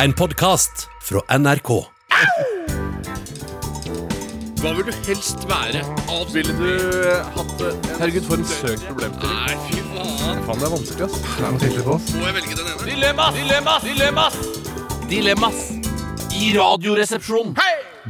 En podkast fra NRK. Hva vil du helst være? Ville du hatt det? Herregud, for en søk problemstilling. Nei, fy faen. Faen, det er vanskelig, ass. Må jeg velge den ene? Dilemmas! Dilemmas! Dilemmas! Dilemmas i Radioresepsjonen.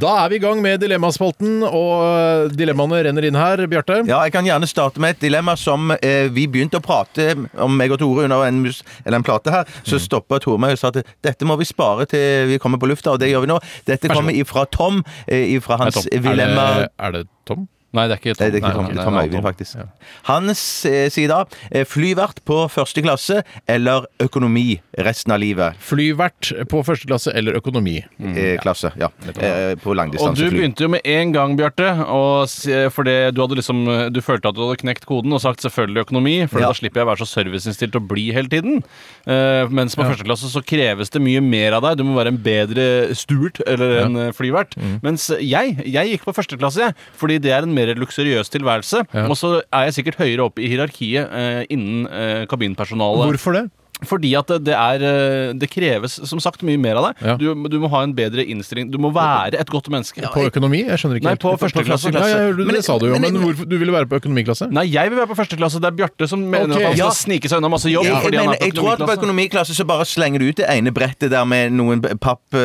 Da er vi i gang med dilemmaspalten, og dilemmaene renner inn her, Bjarte. Ja, jeg kan gjerne starte med et dilemma som eh, vi begynte å prate om, meg og Tore, under en, mus, eller en plate her. Så stoppa Tore meg og sa at dette må vi spare til vi kommer på lufta, og det gjør vi nå. Dette så kommer ifra Tom, eh, ifra hans Tom. dilemma Er, det, er det Tom? Nei, det er ikke Tom. Nei, det er ikke Nei, Tom. ok, Det nei, er Tom nei, Øyvind, Tom. faktisk. Han eh, sier da eh, flyvert på første klasse eller økonomi resten av livet. Flyvert på første klasse eller økonomi? Mm. eh, klasse, ja. Eh, på Og du langdistansefly. begynte jo med en gang, Bjarte, og s- fordi du hadde liksom Du følte at du hadde knekt koden og sagt selvfølgelig økonomi, for Ja. da slipper jeg å være så serviceinnstilt og bli hele tiden. Eh, mens på første klasse så kreves det mye mer av deg. Du må være en bedre stuert eller en eh, flyvert. Mens jeg, jeg gikk på første klasse, jeg, fordi det er en mer luksuriøs tilværelse. Ja. Og så er jeg sikkert høyere oppe i hierarkiet eh, innen eh, kabinpersonalet. Hvorfor det? Fordi at det er eh, Det kreves som sagt mye mer av deg. Ja. Du, du må ha en bedre innstilling. Du må være et godt menneske. På økonomi? Jeg skjønner ikke. Nei, helt. på første klasse. Nei, jeg hørte- Men- det sa du jo, men- men hvorfor, du ville være på økonomiklasse? Nei, jeg vil være på første klasse. Det er Bjarte som mener Ok. at han skal Ja. snike seg unna masse jobb. Jeg, fordi jeg, han mener, er på jeg tror at på økonomiklasse. økonomiklasse så bare slenger du ut det ene brettet der med noen b-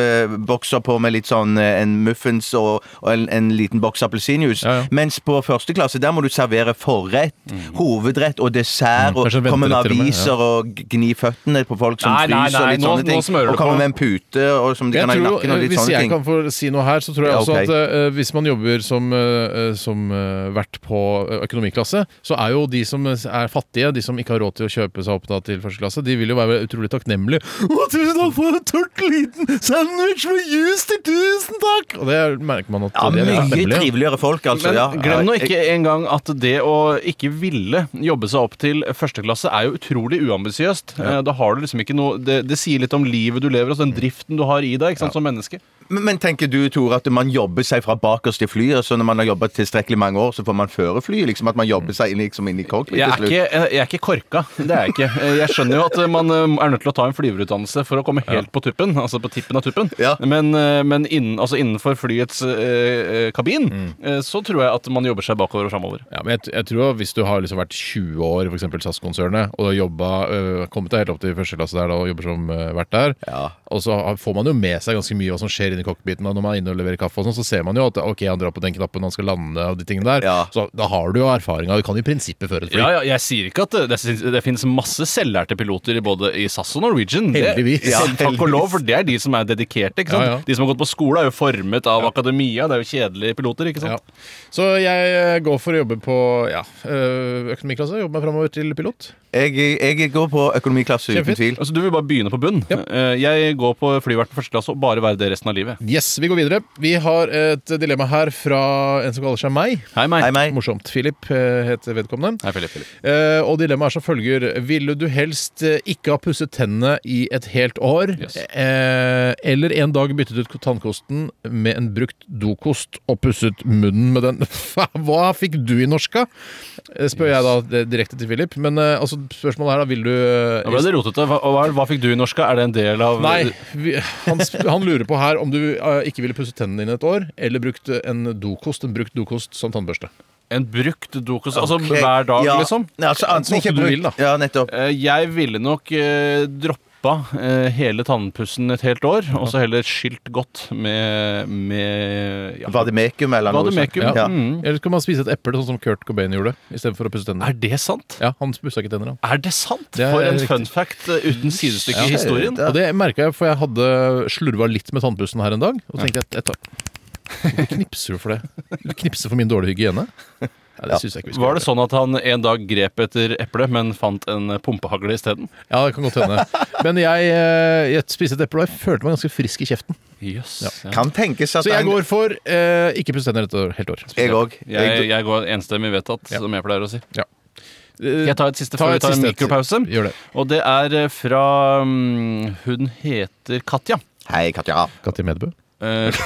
pappbokser på med litt sånn eh, en muffins og, og en, en liten boks appelsinjuice. Ja, ja. Mens på første klasse der må du servere forrett, hovedrett og dessert og kanskje vente komme med til og med, aviser og gni føttene på folk som Nei, nei, fryser og nei, litt nå- sånne nå ting. smører du og komme på. med en pute og, som de Jeg kan ha i tror, nakken og eh, litt hvis sånne jeg ting. kan få si noe her, så tror jeg Ja, også ok. at eh, hvis man jobber som, eh, som eh, vert på eh, økonomiklasse, så er jo de som er fattige, de som ikke har råd til å kjøpe seg opp da, til første klasse, de vil jo være utrolig takknemlige. Å, tusen takk for en tørt liten sandwich med juice til tusen takk! Og det merker man at Ja, de er mye takknemlige. triveligere folk, altså. Men ja. glem nå Ja, ikke engang at det å ikke ville jobbe seg opp til første klasse er jo utrolig uambisiøst. Eh, Da har du liksom ikke noe det, det sier litt om livet du lever, altså den driften du har i deg ikke sant, som menneske. Men, men tenker du, Tore, at man jobber seg fra bakerst i flyet, så når man har jobbet tilstrekkelig mange år, så får man føre flyet? Liksom at man jobber seg inn, liksom, inn i cockpit Jeg til er, slutt? ikke, jeg er ikke korka. Det er jeg ikke. Eh, Jeg skjønner jo at man eh, er nødt til å ta en flyverutdannelse for å komme helt på tuppen. Altså på tippen av tuppen. Ja. Men, eh, men innen, altså innenfor flyets eh, eh, kabin eh, så tror jeg at man jobber seg bakover og framover. Ja, men jeg, jeg tror at Hvis du har liksom vært 20 år for eksempel SAS-konsernet og jobba, øh, kommet deg helt opp til første klasse der da, og jobber som øh, vert der, Ja. og så har- får man jo med seg ganske mye hva som skjer inni cockpiten da, når man er inne og leverer kaffe, og sånn, så ser man jo at ok, han drar på den knappen han skal lande, og de tingene der. Ja. Så da har du jo erfaringa. Du kan i prinsippet føre et fly. Ja, ja, jeg sier ikke at det, det, syns- det finnes masse selvlærte piloter i både i SAS og Norwegian. Det- Heldigvis. selv Ja, takk og lov, for det er de som er dedikerte. Ikke sant? Ja, ja. De som har gått på skole, er jo formet av akademia. Det er jo kjedelige piloter, ikke sant. Ja. Så jeg øh, går for å jobbe på ja, øh, økonomiklasse. Jobbe meg framover til pilot. Jeg, jeg går på økonomiklasse, uten Kjempefint. tvil. Altså, du vil bare begynne på bunn. Eh, Jeg går på flyvert på første klasse og bare være det resten av livet. Yes, vi går videre. Vi har et dilemma her fra en som kaller seg meg. Hei, meg. Nei, meg. Morsomt. Philip øh, heter vedkommende. Hei, Philip, Philip. Eh, og dilemmaet er som følger. Ville du helst eh, ikke ha pusset tennene i et helt år, Yes. eh, eller en dag byttet ut tannkosten med en brukt dokost og pusset munnen med den? Hva fikk du i norska? Eh, Spør jeg da eh, direkte til Philip. Men eh, altså, spørsmålet her, da, vil du eh, Nå ble det rotete. Hva, hva, hva fikk du i norska? Er det en del av Nei, vi, han, sp- han lurer på her om du eh, ikke ville pusset tennene dine et år, eller brukt eh, en dokost, en brukt dokost som tannbørste. En brukt dokos? Altså Ok, hver dag, ja. liksom? Nei, Altså, enten Sånn som ikke du brukt- vil, da. Ja, nettopp. Eh, Jeg ville nok eh, droppa eh, hele tannpussen et helt år, og så heller skylt godt med, med ja. Vademekum eller noe Vademekum, sånt. ja. Mm. Eller skal man spise et eple, sånn som Kurt Cobain gjorde, istedenfor å pusse tennene? Er det sant? Ja, han pussa ikke tenner, han. Er det sant? Det er For en riktig. fun fact eh, uten sidestykke i historien. Og det merka jeg, for jeg hadde slurva litt med tannpussen her en dag. Og så tenkte jeg et Hvorfor knipser du for det? Du knipser for min dårlige hygiene? Nei, det synes jeg ikke vi skal Var det gjøre. sånn at han en dag grep etter eplet, men fant en eh, pumpehagle isteden? Ja, det kan godt hende. Men jeg, eh, jeg spiste et eple, og jeg følte meg ganske frisk i kjeften. Jøss. Ja. Kan tenkes at Så jeg en- går for eh, ikke pusse tenner et år, helt år. Jeg òg. Jeg, jeg går enstemmig vedtatt, Ja. som jeg pleier å si. Eh, Jeg tar et siste ta før vi et tar en siste et- mikropause. Gjør det. Og det er eh, fra mm, Hun heter Katja. Hei, Katja. Katja Medbø. Eh,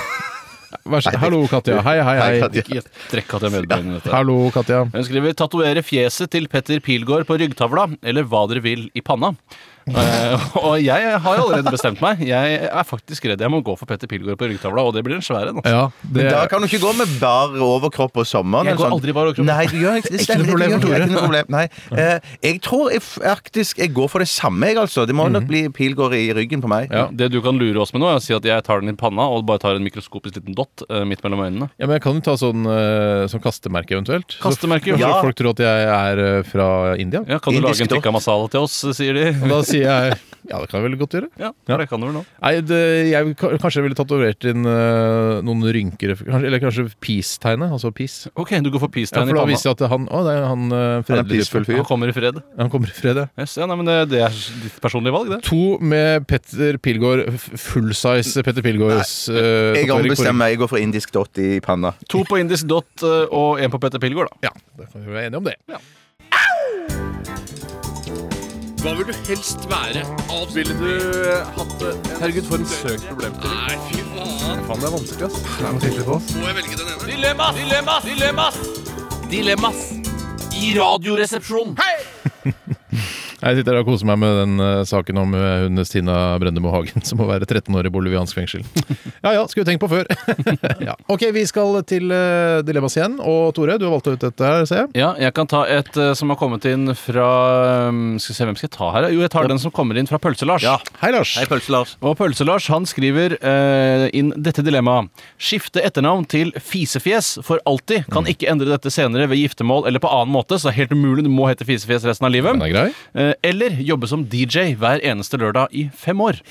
Vær så Hallo, Katja. Hei, hei, Hei, hei. Katja. Ikke trekk Katja Melby inn i dette. Hallo, Katja. Hun skriver 'Tatovere fjeset til Petter Pilgaard på ryggtavla', eller hva dere vil, i panna. Eh, og jeg har allerede bestemt meg. Jeg er faktisk redd jeg må gå for Petter Pilgaard på ryggtavla, og det blir en svær en. altså. Ja, det, Da kan du ikke gå med bar overkropp og sommeren. Jeg eller går sånn. aldri i bar overkropp. Nei, du gjør ikke det. Stemmer, noe problem det, for du Tore. gjør Ikke noe problem. Nei. Eh, jeg tror jeg faktisk jeg går for det samme, jeg, altså. Det må Mhm. nok bli Pilgård i ryggen på meg. Ja. Det du kan lure oss med nå, er å si at jeg tar den i panna og bare tar en mikroskopisk liten dott eh, midt mellom øynene. ja, men jeg kan jo ta sånn eh, som kastemerke eventuelt. Kastemerke, så, ja. så folk tror at jeg er eh, fra India. Ja, kan du Indisk lage en dott. tikka masala til oss, sier de. Og da sier jeg Ja, det kan jeg vel godt gjøre. Ja, Ja. det kan du vel nå. Nei, det, jeg, ka- kanskje jeg ville tatovert inn eh, noen rynker kanskje, Eller kanskje peace-tegnet. Altså peace. Ok, du går for Ja, peace-tegn for i da panna. viser jeg at han Å, det er han uh, Han er fredelige peacefull fyr. Han kommer i fred. Han kommer i fred, ja. Yes, ja, nei, men det, det er ditt personlige valg, det. To med Petter Pilgaard, f- fullsize Petter Pilgaards eh, Jeg tatovering på ombestemmer meg. Jeg går for indisk dott i panna. To på indisk dott eh, og én på Petter Pilgaard, da. ryggen. Ja, da kan vi være enige om det. Hva vil du helst være? Ville du eh, hatt det? Herregud, for en søk problem til. Nei, fy faen. Faen, det er vanskelig, ass. Må jeg velge den ene? Dilemmas! Dilemmas! Dilemmas! Dilemmas i Radioresepsjonen. Jeg sitter her og koser meg med den eh, saken om eh, hun Stina Brøndemo Hagen som må være 13 år i boliviansk fengsel. Ja ja, skulle tenkt på før. ja. Ok, vi skal til eh, Dilemmas igjen. Og Tore, du har valgt ut dette her, ser jeg. Ja, jeg kan ta et eh, som har kommet inn fra um, Skal vi se, hvem skal jeg ta her? Jo, jeg tar den som kommer inn fra Pølse-Lars. Hei, Lars. Hei, Pølse-Lars. Og Pølse-Lars han skriver eh, inn dette dilemmaet. Skifte etternavn til fisefjes for alltid. Kan ikke endre dette senere ved giftermål eller på annen måte, så det er helt umulig. Du må hete fisefjes resten av Den livet. er grei. Eh, eller jobbe som DJ hver eneste lørdag i fem år.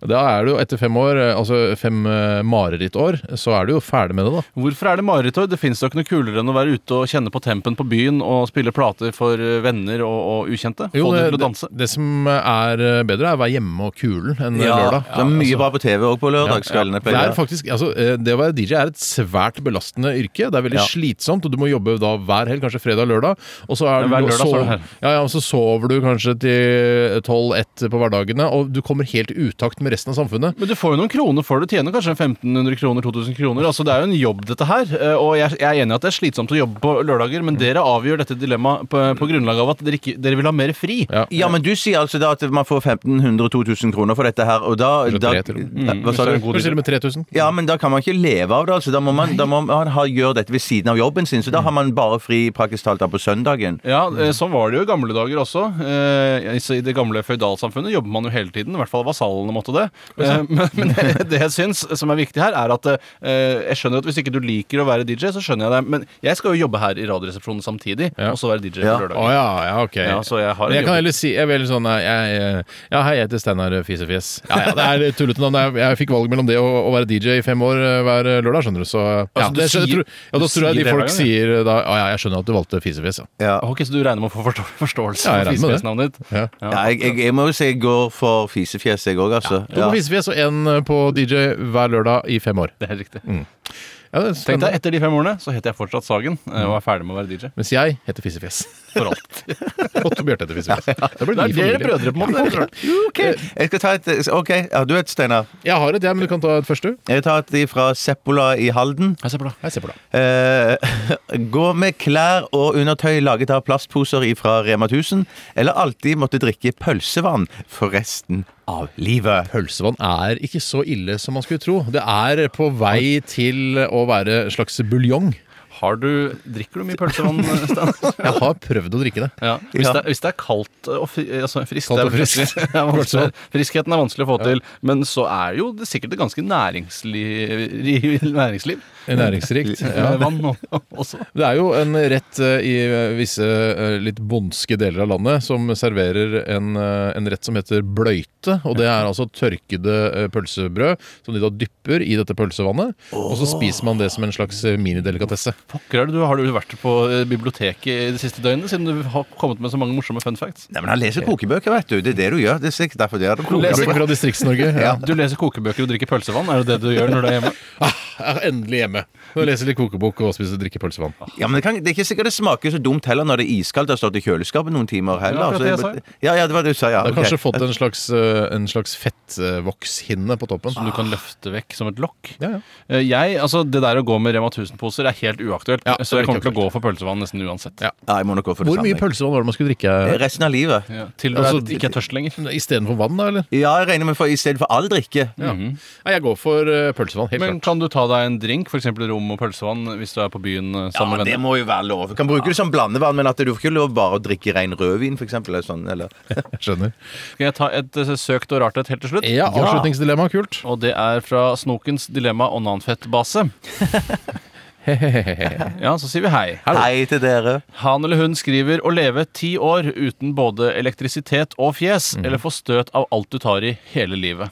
Da er du jo etter fem år, eh, altså fem eh, marerittår, så er du jo ferdig med det, da. Hvorfor er det marerittår? Det fins da ikke noe kulere enn å være ute og kjenne på tempen på byen og spille plater for eh, venner og, og ukjente. Få dem til å danse. eh, det, det som er eh, bedre, er å være hjemme og kulen enn eh, lørdag. det er mye bra på TV òg på lørdagskveldene. Det er faktisk, altså, eh, det å være DJ er et svært belastende yrke. Det er veldig Ja. slitsomt, og du må jobbe da hver helg, kanskje fredag og lørdag. Og så, er Ja, hver du- lørdag sov- står det her. ja, ja, og så sover du kanskje til tolv-ett på hverdagene, og du kommer helt i utakt med resten av samfunnet. Men du får jo noen kroner for det. Du tjener kanskje 1500 kroner, 2000 kroner. Altså, det er jo en jobb, dette her. Eh, Og jeg, jeg er enig i at det er slitsomt å jobbe på lørdager, men dere avgjør dette dilemmaet på, på grunnlag av at dere, ikke, dere vil ha mer fri. Ja. Ja, men du sier altså da at man får 1500-2000 kroner for dette her, og da, Kanskje da tre til og Mm. Hva sa du? Kanskje til og med 3000. Ja, men da kan man ikke leve av det. altså. Da må man, da må man ha, gjøre dette ved siden av jobben sin. Så da Mm. har man bare fri praktisk talt da på søndagen. Ja, eh, sånn var det jo i gamle dager også. Eh, så I det gamle føydalsamfunnet jobber man jo hele tiden. I hvert fall vasallene måtte det. Eh, men men det, det jeg syns som er viktig her, er at eh, jeg skjønner at hvis ikke du liker å være DJ, så skjønner jeg det. Men jeg skal jo jobbe her i Radioresepsjonen samtidig, Ja. og så være DJ på Ja. Å lørdager. ja, ja, ok. Ja, så jeg har en Men jeg kan jobb. heller si jeg er veldig sånn, nei, jeg, jeg, Ja, hei, jeg heter Steinar eh, Fisefjes. Ja, ja, det er et tullete navn. Jeg, jeg fikk valget mellom det og å være DJ i fem år eh, hver lørdag, skjønner du. Så ja, Altså, du det, skjø- sier- tror, du ja, da tror sier jeg de det hver folk gang, sier eh, da Å ja, jeg skjønner at du valgte Fisefjes, ja. Ja. Ah, Ok, Så du regner med å få forstå forståelse Ja, jeg for regner med det. fisefjesnavnet ditt? ja. Ja, jeg, jeg, jeg må jo si jeg går for fisefjes, jeg òg, altså. To på Fisefjes og én eh, på DJ hver lørdag i fem år. Det er helt riktig. Mm. Ja, det Tenk er deg, spennende. Etter de fem årene så heter jeg fortsatt Sagen eh, og er ferdig med å være DJ. Mens jeg heter Fisefjes. For alt. Og Bjarte heter Fisefjes. Det blir Det ny er dere familie. brødre på en måte. Ok, Eh, Jeg skal ta et Ok, ja, du vet, Steinar. Jeg har et, jeg, men du kan ta et først, du. Jeg tar et fra Seppola i Halden. Jeg ser på deg. Jeg ser på deg. Eh, gå med klær og undertøy laget av plastposer fra Rema 1000, eller alltid måtte drikke pølsevann for resten av livet. Pølsevann er ikke så ille som man skulle tro. Det er på vei til å være en slags buljong. Har du, drikker du mye pølsevann, eh, Stan? Jeg har prøvd å drikke det. Ja. Hvis, Ja. det, hvis det er kaldt og fri, altså friskt det Kaldt og er vel friskt. vanskelig. Det er vanskelig. Friskheten er vanskelig å få til, men så er jo det sikkert et ganske næringsliv, næringsliv. Næringsrikt. Ja. Eh, vann og- også. Det er jo en rett eh, i eh, visse eh, litt bondske deler av landet som serverer en, eh, en rett som heter bløyte. Og det er altså tørkede eh, pølsebrød som de da dypper i dette pølsevannet. Og så spiser man det som en slags eh, minidelikatesse. Pokker er det du, har du vært på eh, biblioteket i det siste døgnet, siden du har kommet med så mange morsomme fun facts? Nei, men Han leser kokebøker, vet du. Det er det du gjør. Det er sikkert derfor det er det. Fra Distrikts-Norge. Ja. Du leser kokebøker og drikker pølsevann, er det det du gjør når du er hjemme? er endelig hjemme. Og leser litt kokebok og spiser drikkepølsevann. Ja, men det, kan, det er ikke sikkert det smaker så dumt heller når det er iskaldt og har stått i kjøleskapet noen timer heller. Ja, Så det er jeg- det jeg ja, ja, det var det du sa, ja. Det har ok. kanskje fått en slags, eh, en slags fettvokshinne på toppen. Som du kan løfte vekk som et lokk. Ja, ja. Eh, Jeg, altså Det der å gå med Rema 1000-poser er helt uaktuelt. Ja, så jeg det er kommer ikke til å gå for pølsevann nesten uansett. Ja, jeg må nok gå for det Hvor mye samme. pølsevann var det man skulle drikke? jeg. Eh, Resten av livet. Ja. Til du Altså, er- ikke er tørst lenger. Istedenfor vann, da? eller? Ja, jeg regner med for i stedet for all drikke. Nei, jeg går for eh, pølsevann. helt Men klart. kan du ta deg en drink, f.eks. rom og pølsevann, hvis du er på byen eh, sammen Ja, med det venner? må jo være lov. Du kan bruke det som blandevann, men at du får ikke lov bare å drikke ren rødvin, for eksempel, eller sånn, eller Skjønner. Skal jeg ta et eh, søkt og rart et helt til slutt? Ja, avslutningsdilemma. Kult. Og det er fra Snokens dilemma onanfettbase. Ja, så sier vi hei. Hei til dere. Han eller hun skriver å leve ti år uten både elektrisitet og fjes, Mm. eller få støt av alt du tar i hele livet.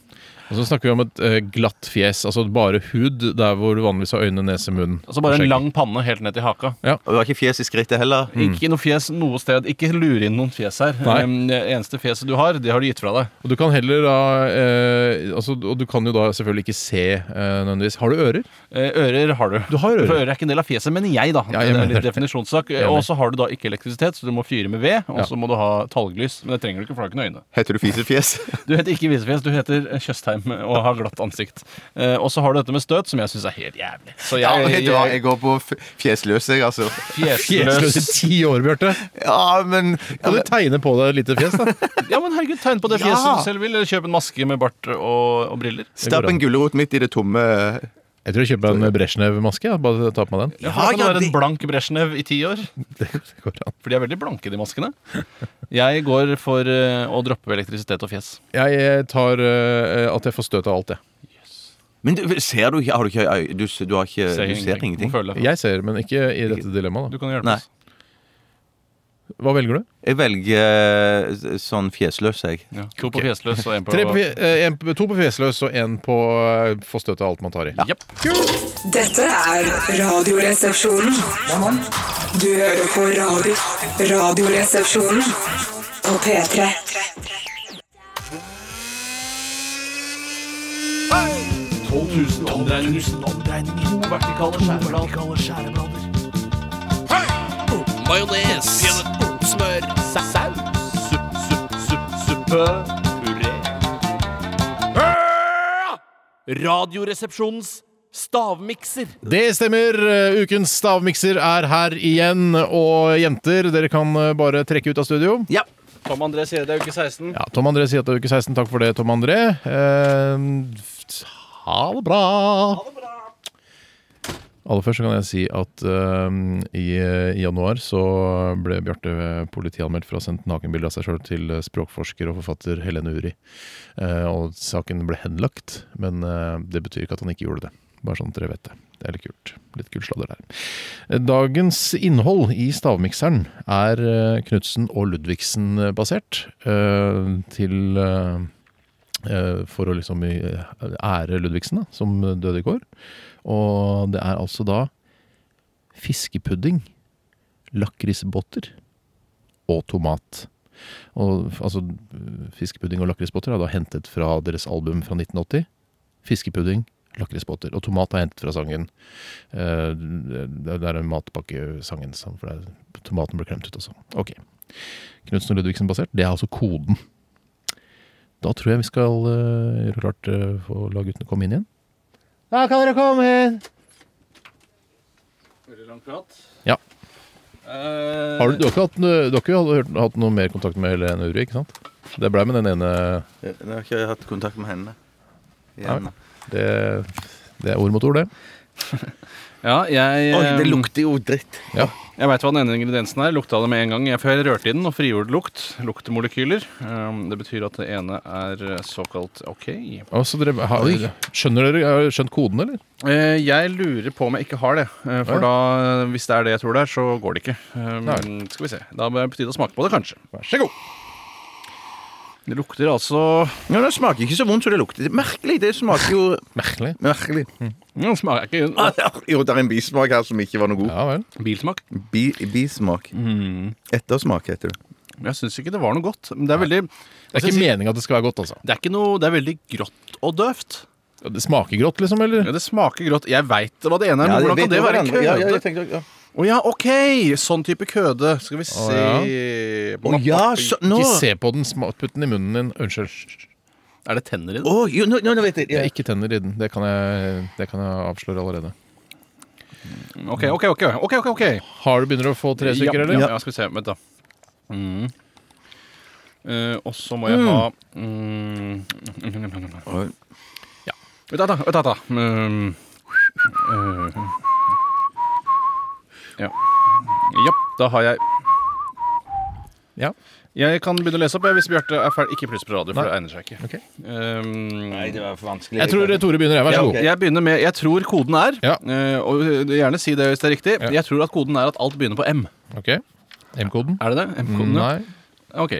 Og så snakker vi om et eh, glatt fjes, altså bare hud der hvor du vanligvis har øyne, nese, munn. Altså bare og skjegg. en lang panne helt ned til haka. Og du har ikke fjes i skrittet heller. Ikke noe fjes noe sted. Ikke lure inn noen fjes her. Mm. Nei. Em, Det eneste fjeset du har, det har du gitt fra deg. Og du kan heller da eh, altså, Og du kan jo da selvfølgelig ikke se eh, nødvendigvis. Har du ører? Eh, Ører har du. Du har ører. For ører er ikke en del av fjeset, men jeg, da. Ja, jeg det er mener litt det. definisjonssak. Enig. Og så har du da ikke elektrisitet, så du må fyre med ved. Og Ja. så må du ha talglys. Men det trenger du ikke, for du har ikke noe øyne. Heter du fisefjes? Du heter ikke Visefjes, du heter Tjøstheim og har glatt ansikt. Eh, og så har du dette med støt, som jeg syns er helt jævlig. Så jeg, jeg, går på fjesløs, jeg, altså. fjesløs Fjesløs i ti år, Bjarte! Ja, men Kan du tegne på deg et lite fjes, da? Ja, men herregud, tegn på det Ja. fjeset du selv vil, eller kjøp en maske med bart og, og briller. Stapp en gulrot midt i det tomme Jeg tror jeg kjøper meg en Brezjnev-maske. ja. Bare ta på meg den. Ja, for Ja, det kan ja, være det- en blank Brezjnev i ti år. Det går an. For de er veldig blanke, de maskene. Jeg går for eh, å droppe elektrisitet og fjes. Jeg eh, tar eh, at jeg får støt av alt, jeg. Men du, ser du ikke Har du ikke øy- Du, s- du har ikke Du ser ingenting? Må føle. Jeg ser, men ikke i dette dilemmaet. Du da. kan hjelpe Nei. oss. Hva velger du? Jeg velger eh, sånn fjesløs, jeg. Ja. To på fjesløs og en på Tre på, fje- eh, en, på- to på fjesløs og én på eh, få støt av alt man tar i. Japp. Dette er Radioresepsjonen. Du hører på radio. Radioresepsjonen på P3. Majones. Smør. Saus. Supp, supp, supp, suppe. Puré. Ah! Radioresepsjonens stavmikser. Det stemmer. Eh, Ukens stavmikser er her igjen. Og jenter, dere kan eh, bare trekke ut av studio. Ja. Tom André sier det er uke 16. Ja, Tom André sier at det er uke 16. Takk for det, Tom André. Eh, ha det bra. Aller først så kan jeg si at eh, i, i januar så ble Bjarte politianmeldt for å ha sendt nakenbilde av seg sjøl til språkforsker og forfatter Helene Uri. Eh, og saken ble henlagt, men eh, det betyr ikke at han ikke gjorde det. Bare sånn at dere vet det. Det er litt kult. Litt kult sladder der. Dagens innhold i Stavmikseren er eh, Knutsen og Ludvigsen basert. eh, Til eh, eh, For å liksom eh, ære Ludvigsen, da, som døde i går. Og det er altså da fiskepudding, lakrisbotter og tomat. Og altså Fiskepudding og lakrisbotter er da hentet fra deres album fra 1980. Fiskepudding, lakrisbotter. Og tomat er hentet fra sangen. Eh, Det det er en matpakkesangen, sånn, for det er, tomaten ble klemt ut også. Ok. Knutsen og Ludvigsen basert. Det er altså koden. Da tror jeg vi skal eh, gjøre klart eh, for å la guttene komme inn igjen. Da kan dere komme inn! Veldig lang prat. Ja. Eh, Har du, du har ikke, hatt, du har ikke hatt, hatt noe mer kontakt med Helene Uri, ikke sant? Det blei med den ene Jeg Eh, har ikke hatt kontakt med henne. Igjen. Det, det er ord mot ord, det. Ja, jeg Oi, det eh, lukter jo dritt. Jeg veit hva den ene ingrediensen er. Lukta det med en gang. Jeg før jeg rørte i den og frigjorde lukt. Luktmolekyler. Um, Det betyr at det ene er eh, såkalt OK. Og så dere, har, skjønner dere har dere skjønt koden, eller? Eh, Jeg lurer på om jeg ikke har det. eh, For Å, ja. da, eh, hvis det er det jeg tror det er, så går det ikke. Um, Nei. Skal vi se. Da bør det på tide å smake på det, kanskje. Vær så god. Det lukter altså Ja, det smaker ikke så vondt som det lukter. Det er Merkelig. Det smaker jo Merkelig. Merkelig. mm, smaker ikke Ah, ja. Jo, det er en bismak her som ikke var noe god. Ja vel. Bilsmak. Bi, bismak. Mm. Ettersmak heter det. Jeg syns ikke det var noe godt. Men det er veldig Det er ikke meninga at det skal være godt, altså. Det er ikke noe Det er veldig grått og døvt. Ja, Det smaker grått, liksom? eller? Ja, det smaker grått. Jeg veit hva det ene er, men hvordan vet kan det du være hvordan- køde? Ja, Å ja, ja, jeg tenkte, ja. OK! Sånn type køde. Skal vi se Å ja, så, nå Ikke se på den, sma- putt den i munnen din. Unnskyld. Er det tenner i det? Å, jo, nå, nå, nå vet jeg. Det Ja. er ikke tenner i den. Det kan jeg, det kan jeg avsløre allerede. OK, OK, OK. ok, ok, ok Har du begynner å få tre stykker, ja, eller? Ja, ja, skal vi se. Vent, da. Mm. Eh, og så må jeg ha mm. Ja. Vent, da, da. Vent, da, da. Mm. Eh. Ja. Ja, da har jeg Ja. Jeg kan begynne å lese opp jeg, hvis Bjarte er ferdig. Ikke pluss på radio, for Nei. det egner seg ikke. Ok. Um, det var for vanskelig. Jeg tror Tore begynner. jeg. Vær så god. Jeg begynner med Jeg tror koden er Ja. eh, Og gjerne si det hvis det er riktig. Ja. Jeg tror at koden er at alt begynner på M. Ok, M-koden? Er det det? M-koden, ja. Nei. Ok,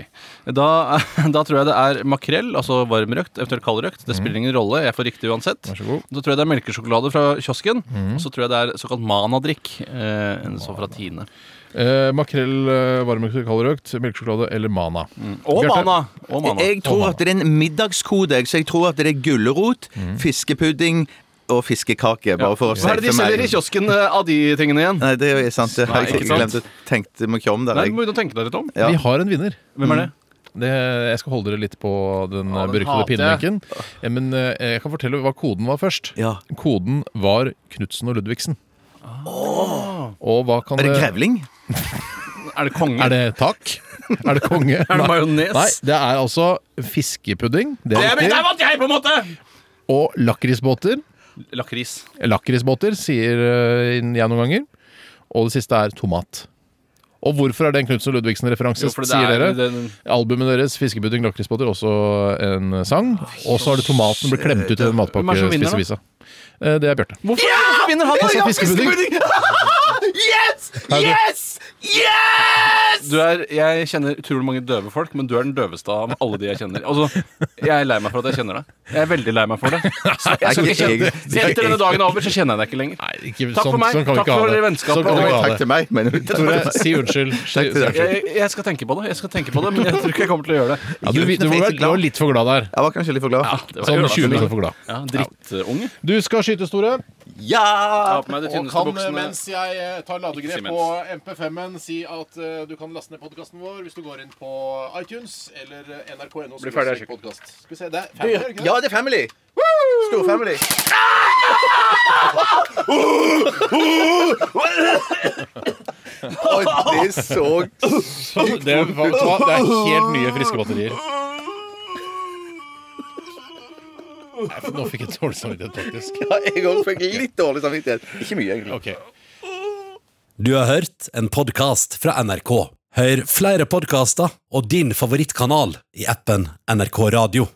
da, da tror jeg det er makrell, altså varmrøkt, eventuelt kaldrøkt. Det spiller ingen rolle, jeg får riktig uansett. Mm. Vær så god. Mm. Så tror jeg det er melkesjokolade fra kiosken, og så tror jeg det er såkalt manadrikk, eh, en sånn fra Tine. Eh, makrell, eh, varmrøkt, kaldrøkt, melkesjokolade eller Mana. Og Bjarte. mana! Og mana. Jeg tror at det er en middagskode, jeg, så jeg tror at det er gulrot, fiskepudding og fiskekake. Bare for å Mm. Hva er det de selger i kiosken eh, av de tingene igjen? Nei, det er sant. Det har Nei, jeg ikke glemt. sant? Tenkte meg ikke om der. Nei, Jeg. du må begynne å tenke deg litt om. Ja. Vi har en vinner. Hvem er det? Det, jeg skal holde dere litt på den, Ja, eh, den beryktede hater jeg. pinnebenken. Eh, Men eh, jeg kan fortelle hva koden var først. Ja. Koden var Knutsen og Ludvigsen. Ah. Og hva kan Er det grevling? Er det konge? Er det tak? Er det konge? Er det majones? Nei, det er altså fiskepudding. Det Det er er mitt, der riktig. vant jeg, på en måte! Og lakrisbåter. Lakris. Lakrisbåter, sier eh, jeg noen ganger. Og det siste er tomat. Og hvorfor er det en Knutsen og Ludvigsen-referanse, Jo, for det sier er- dere? den- Albumet deres, 'Fiskebudding lakrisbåter', også en sang. Og så har det tomaten blitt klemt ut i den Hvem er det som vinner, da? matpakkespisevisa. Eh, Det er Bjarte. Hvorfor, hvorfor vinner han? Ah, Jeg sa fiskepudding! Yes! Du er, jeg kjenner utrolig mange døve folk, men du er den døveste av alle de jeg kjenner. Altså, jeg er lei meg for at jeg kjenner deg. Jeg er veldig lei meg for det. Så jeg skal ikke kjenne Så etter denne dagen er over, så kjenner jeg deg ikke lenger. Altså, Nei, ikke, Takk for sånn, meg. Sånn kan Takk vi ikke for ha det. vennskapet. Sånn kan vi ikke ha Takk det. til meg. Men Tore, si unnskyld. Takk til deg. Si- Jeg, jeg skal tenke på det, jeg skal tenke på det men jeg tror ikke jeg kommer til å gjøre det. Ja, du, du, må være- du var litt for glad der. Jeg var kanskje litt for glad. Ja, det var Sånn jævla 20 minutter fint. for glad. Ja, Drittunge. Du skal skyte, Store. Jeg har på meg de tynneste buksene. jeg eh, tar Ikke si ladegrep mens. MP5-en, si at eh, du kan laste ned podkasten vår hvis du går inn på iTunes eller eh, nrk.no. Bli ferdig, jeg podkast. Skal vi se, det er fem, gjør det ikke det? Ja, det er family! Stor family. Oi, det så Det er, vet du hva, det er helt nye, friske batterier. Nei, for Nå fikk jeg dårlig samvittighet, faktisk. Ja, Jeg òg fikk litt dårlig samvittighet. Ikke mye, egentlig. Ok. Du har hørt en podcast fra NRK. Hør flere podcaster og din favorittkanal i appen NRK Radio.